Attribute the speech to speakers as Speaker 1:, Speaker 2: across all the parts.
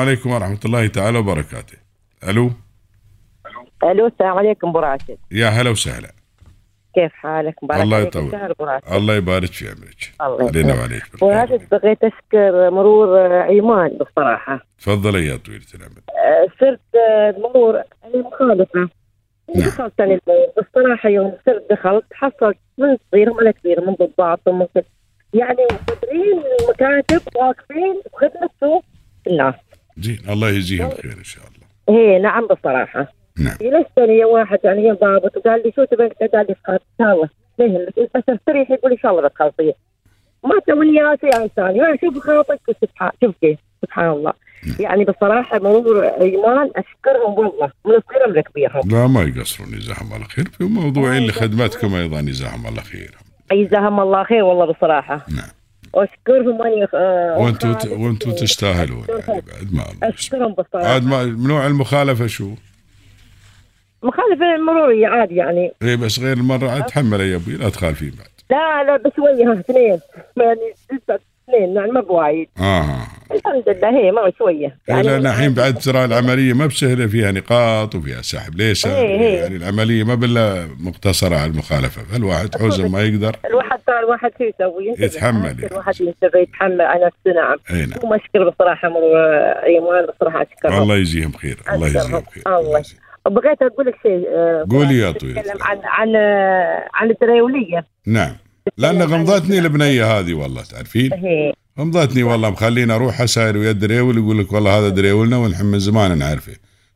Speaker 1: عليكم ورحمة الله تعالى وبركاته ألو
Speaker 2: الو السلام عليكم ابو راشد
Speaker 1: يا هلا وسهلا
Speaker 2: كيف حالك مبارك
Speaker 1: الله
Speaker 2: عليك
Speaker 1: يطول.
Speaker 2: الشهر ابو راشد
Speaker 1: الله يبارك في عمرك
Speaker 2: الله
Speaker 1: علينا وعليك
Speaker 2: يسلمك. ابو راشد بغيت اشكر مرور آه، عمان بصراحه
Speaker 1: تفضلي يا طويلة العمر
Speaker 2: آه، صرت آه، مرور انا مخالفه
Speaker 1: نعم.
Speaker 2: يعني دخلت انا المرور بصراحه يوم صرت دخلت حصلت من صغيرهم على كبيرهم من ضباط ومن كل- يعني مقدرين المكاتب واقفين بخدمه سوق الناس
Speaker 1: زين الله يجزيهم خير إن شاء الله
Speaker 2: هي نعم بصراحه
Speaker 1: نعم
Speaker 2: جلستني يا واحد يعني يا ضابط وقال لي شو تبي أنت؟ قال لي فقط ان شاء الله ما يهمك بس استريح يقول ان شاء الله بتخلصيه ما تسوي لي يا شيء ثاني يعني شوف خاطرك سبحان شوف كيف سبحان الله يعني بصراحه مرور ايمان اشكرهم والله من صغيرهم لكبيرهم
Speaker 1: لا ما يقصرون جزاهم الله خير في موضوعين لخدمتكم أيضا جزاهم الله خير
Speaker 2: جزاهم الله خير والله بصراحه
Speaker 1: نعم
Speaker 2: واشكرهم اني آه،
Speaker 1: وانتم
Speaker 2: خالد.
Speaker 1: وانتم تستاهلون يعني بعد ما الله يسمع.
Speaker 2: اشكرهم بصراحه
Speaker 1: عاد ما من نوع المخالفة شو؟
Speaker 2: مخالف المروريه عادي يعني
Speaker 1: اي إيه، بس غير المرة عاد تحمل يا ابوي لا تخالفين بعد
Speaker 2: لا لا بشويه ها، اثنين يعني لسه اثنين يعني ما بوايد
Speaker 1: اه
Speaker 2: الحمد لله هي ما شويه
Speaker 1: يعني لان الحين بعد ترى العمليه ما بسهله فيها نقاط وفيها سحب ليس
Speaker 2: إيه إيه.
Speaker 1: يعني العمليه ما بالله مقتصره على المخالفه فالواحد حوزه ما يقدر
Speaker 2: الواحد صار الواحد شو يسوي؟ ينتبه.
Speaker 1: يتحمل
Speaker 2: أكثر
Speaker 1: يعني.
Speaker 2: الواحد ينتبه يتحمل على نفسه نعم
Speaker 1: اي نعم
Speaker 2: ثم اشكر بصراحه مرور ايمان بصراحه اشكرهم
Speaker 1: الله يجزيهم خير الله يجزيهم خير
Speaker 2: الله.
Speaker 1: يجزيهم.
Speaker 2: وبغيت اقول لك شيء آه،
Speaker 1: قولي يا
Speaker 2: بغيت
Speaker 1: طويلة
Speaker 2: اتكلم
Speaker 1: العمر.
Speaker 2: عن عن آه، عن الدريوليه
Speaker 1: نعم لان غمضتني البنيه هذه والله تعرفين
Speaker 2: هي
Speaker 1: غمضتني والله مخلينا اروح اساير ويا الدريول يقول لك والله هذا دريولنا ونحن من زمان نعرفه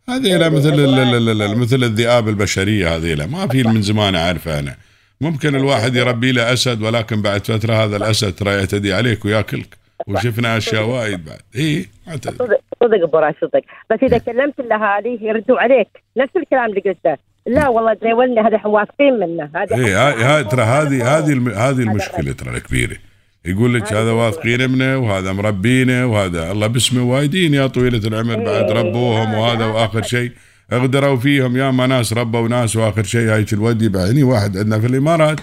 Speaker 1: هذه لا مثل ال- ال- ال- ال- مثل الذئاب البشريه هذه لا ما في من زمان اعرفه انا ممكن الواحد يربي له اسد ولكن بعد فتره هذا الاسد ترى يعتدي عليك وياكلك وشفنا اشياء وايد بعد إيه، اي معتدل
Speaker 2: صدق صدق ابو راشد صدق بس
Speaker 1: إيه.
Speaker 2: اذا كلمت الاهالي يردوا عليك نفس الكلام اللي قلته لا والله دريولنا هذا احنا واثقين منه هذا
Speaker 1: اي إيه، هاي- هاي ترى هذه هذه الم- هذه المشكله ترى الكبيره يقول لك هذا واثقين منه وهذا مربينه وهذا الله باسمه وايدين يا طويله العمر
Speaker 2: إيه،
Speaker 1: بعد ربوهم وهذا واخر شيء اغدروا فيهم يا ما ناس ربوا ناس واخر شيء هايك الودي بعدني واحد عندنا في الامارات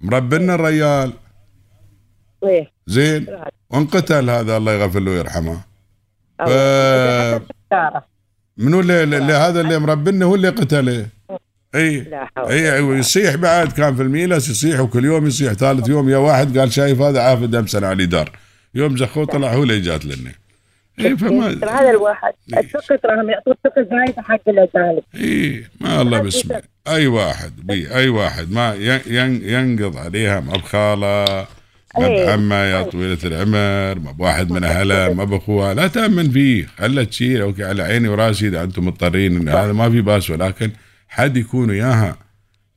Speaker 1: مربنا الريال
Speaker 2: إيه.
Speaker 1: زين وانقتل هذا الله يغفر له ويرحمه
Speaker 2: الله.
Speaker 1: ف-
Speaker 2: خسارة.
Speaker 1: منو اللي, اللي هذا اللي مربنا هو اللي قتله اي
Speaker 2: لا حول
Speaker 1: اي يصيح بعد كان في الميلس يصيح وكل يوم يصيح ثالث يوم يا واحد قال شايف هذا عافد امس على دار يوم زخوه طلع هو اللي جات لنا اي
Speaker 2: يعني إيه، ترى
Speaker 1: فما
Speaker 2: هذا الواحد
Speaker 1: إيه.
Speaker 2: الثقه تراهم يعطوا الثقه زايده حق الاجانب
Speaker 1: اي إيه، ما الله باسمه اي واحد بي اي واحد ما ين- ين- ينقض عليها ما بخاله ما
Speaker 2: إيه.
Speaker 1: بعمه يا طويله العمر ما بواحد من اهلها ما باخوها لا تامن فيه خلها تشيل اوكي على عيني وراسي اذا انتم مضطرين إن هذا ما في باس ولكن حد يكون وياها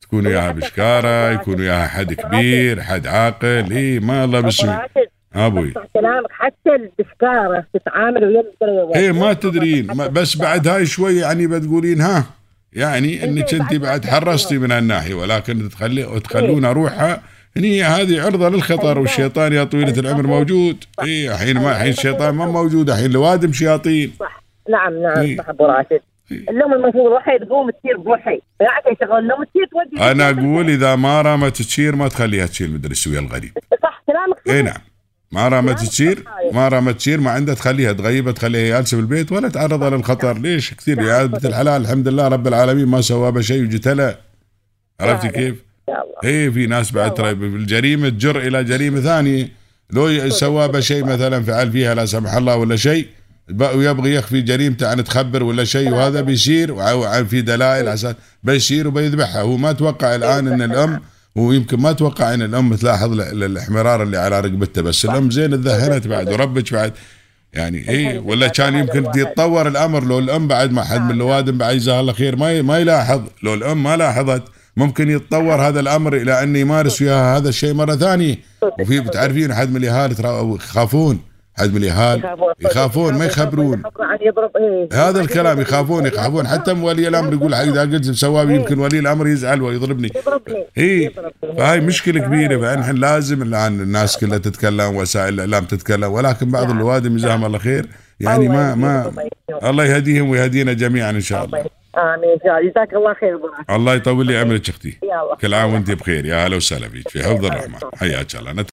Speaker 1: تكون وياها بشكاره يكون وياها حد كبير حد عاقل اي ما الله باسمه
Speaker 2: راشد
Speaker 1: ابوي
Speaker 2: اسمع كلامك حتى البشكاره تتعامل ويا الدريوة
Speaker 1: ايه ما تدرين ما بس بعد هاي شوي يعني بتقولين ها يعني انك انت بعد حرصتي من هالناحيه ولكن تخلي تخلون روحها هني هذه عرضه للخطر والشيطان يا طويله العمر موجود اي الحين ما الحين الشيطان ما موجود الحين لوادم شياطين
Speaker 2: صح نعم نعم
Speaker 1: إيه.
Speaker 2: صح ابو راشد
Speaker 1: إيه.
Speaker 2: اللوم المفروض روحي تقوم تسير بروحي بالعكس يشغل لوم تسير تودي
Speaker 1: انا اقول اذا ما رامت تشير ما تخليها تشيل مدري شو ويا الغريب
Speaker 2: صح كلامك صح
Speaker 1: اي نعم ما رامت تشير ما رامت تشير ما عندها تخليها تغيبها تخليها جالسه بالبيت ولا تعرضها للخطر ليش كثير يا عاد مثل الحلال الحمد لله رب العالمين ما سوى بها شيء وجت لها عرفتي
Speaker 2: لا.
Speaker 1: كيف؟
Speaker 2: ان شاء الله
Speaker 1: اي إيه، في ناس بعد ترى بالجريمه تجر الى جريمه ثانيه لو سوى بها شيء مثلا فعل فيها لا سمح الله ولا شيء ب- ويبغي يخفي جريمته عن تخبر ولا شيء وهذا بيصير وع- وع- في دلائل عشان بيصير وبيذبحها هو ما توقع الان ان الام ويمكن ما توقع ان الام تلاحظ ال- ال- الاحمرار اللي على رقبتها بس الام زين تذهنت بعد وربك بعد يعني اي ولا كان يمكن يتطور الامر لو الام بعد ما حد من الوادم بعد جزاه الله خير ما ي- ما يلاحظ لو الام ما لاحظت ممكن يتطور هذا الامر الى ان يمارس وياها هذا الشيء مره ثانيه وفي بتعرفين حد من الاهالي ترى يخافون حد من الاهالي
Speaker 2: يخافون.
Speaker 1: يخافون ما يخبرون
Speaker 2: يخافون عن يضرب إيه.
Speaker 1: هذا الكلام يخافون يخافون حتى ولي الامر يقول حق اذا قلت سوابي يمكن ولي الامر يزعل ويضربني
Speaker 2: يضربني
Speaker 1: اي
Speaker 2: يضربني.
Speaker 1: فهاي مشكله كبيره فنحن لازم الان الناس كلها تتكلم وسائل الاعلام تتكلم ولكن بعض الوادم جزاهم نعم. الله خير يعني ما ما آه. الله يهديهم ويهدينا جميعا ان شاء الله
Speaker 2: امين ان شاء الله جزاك الله خير ابو راشد
Speaker 1: الله يطول لي عمرك اختي
Speaker 2: يلا
Speaker 1: كل عام وانت بخير يا هلا وسهلا فيك في حفظ الرحمن حياك الله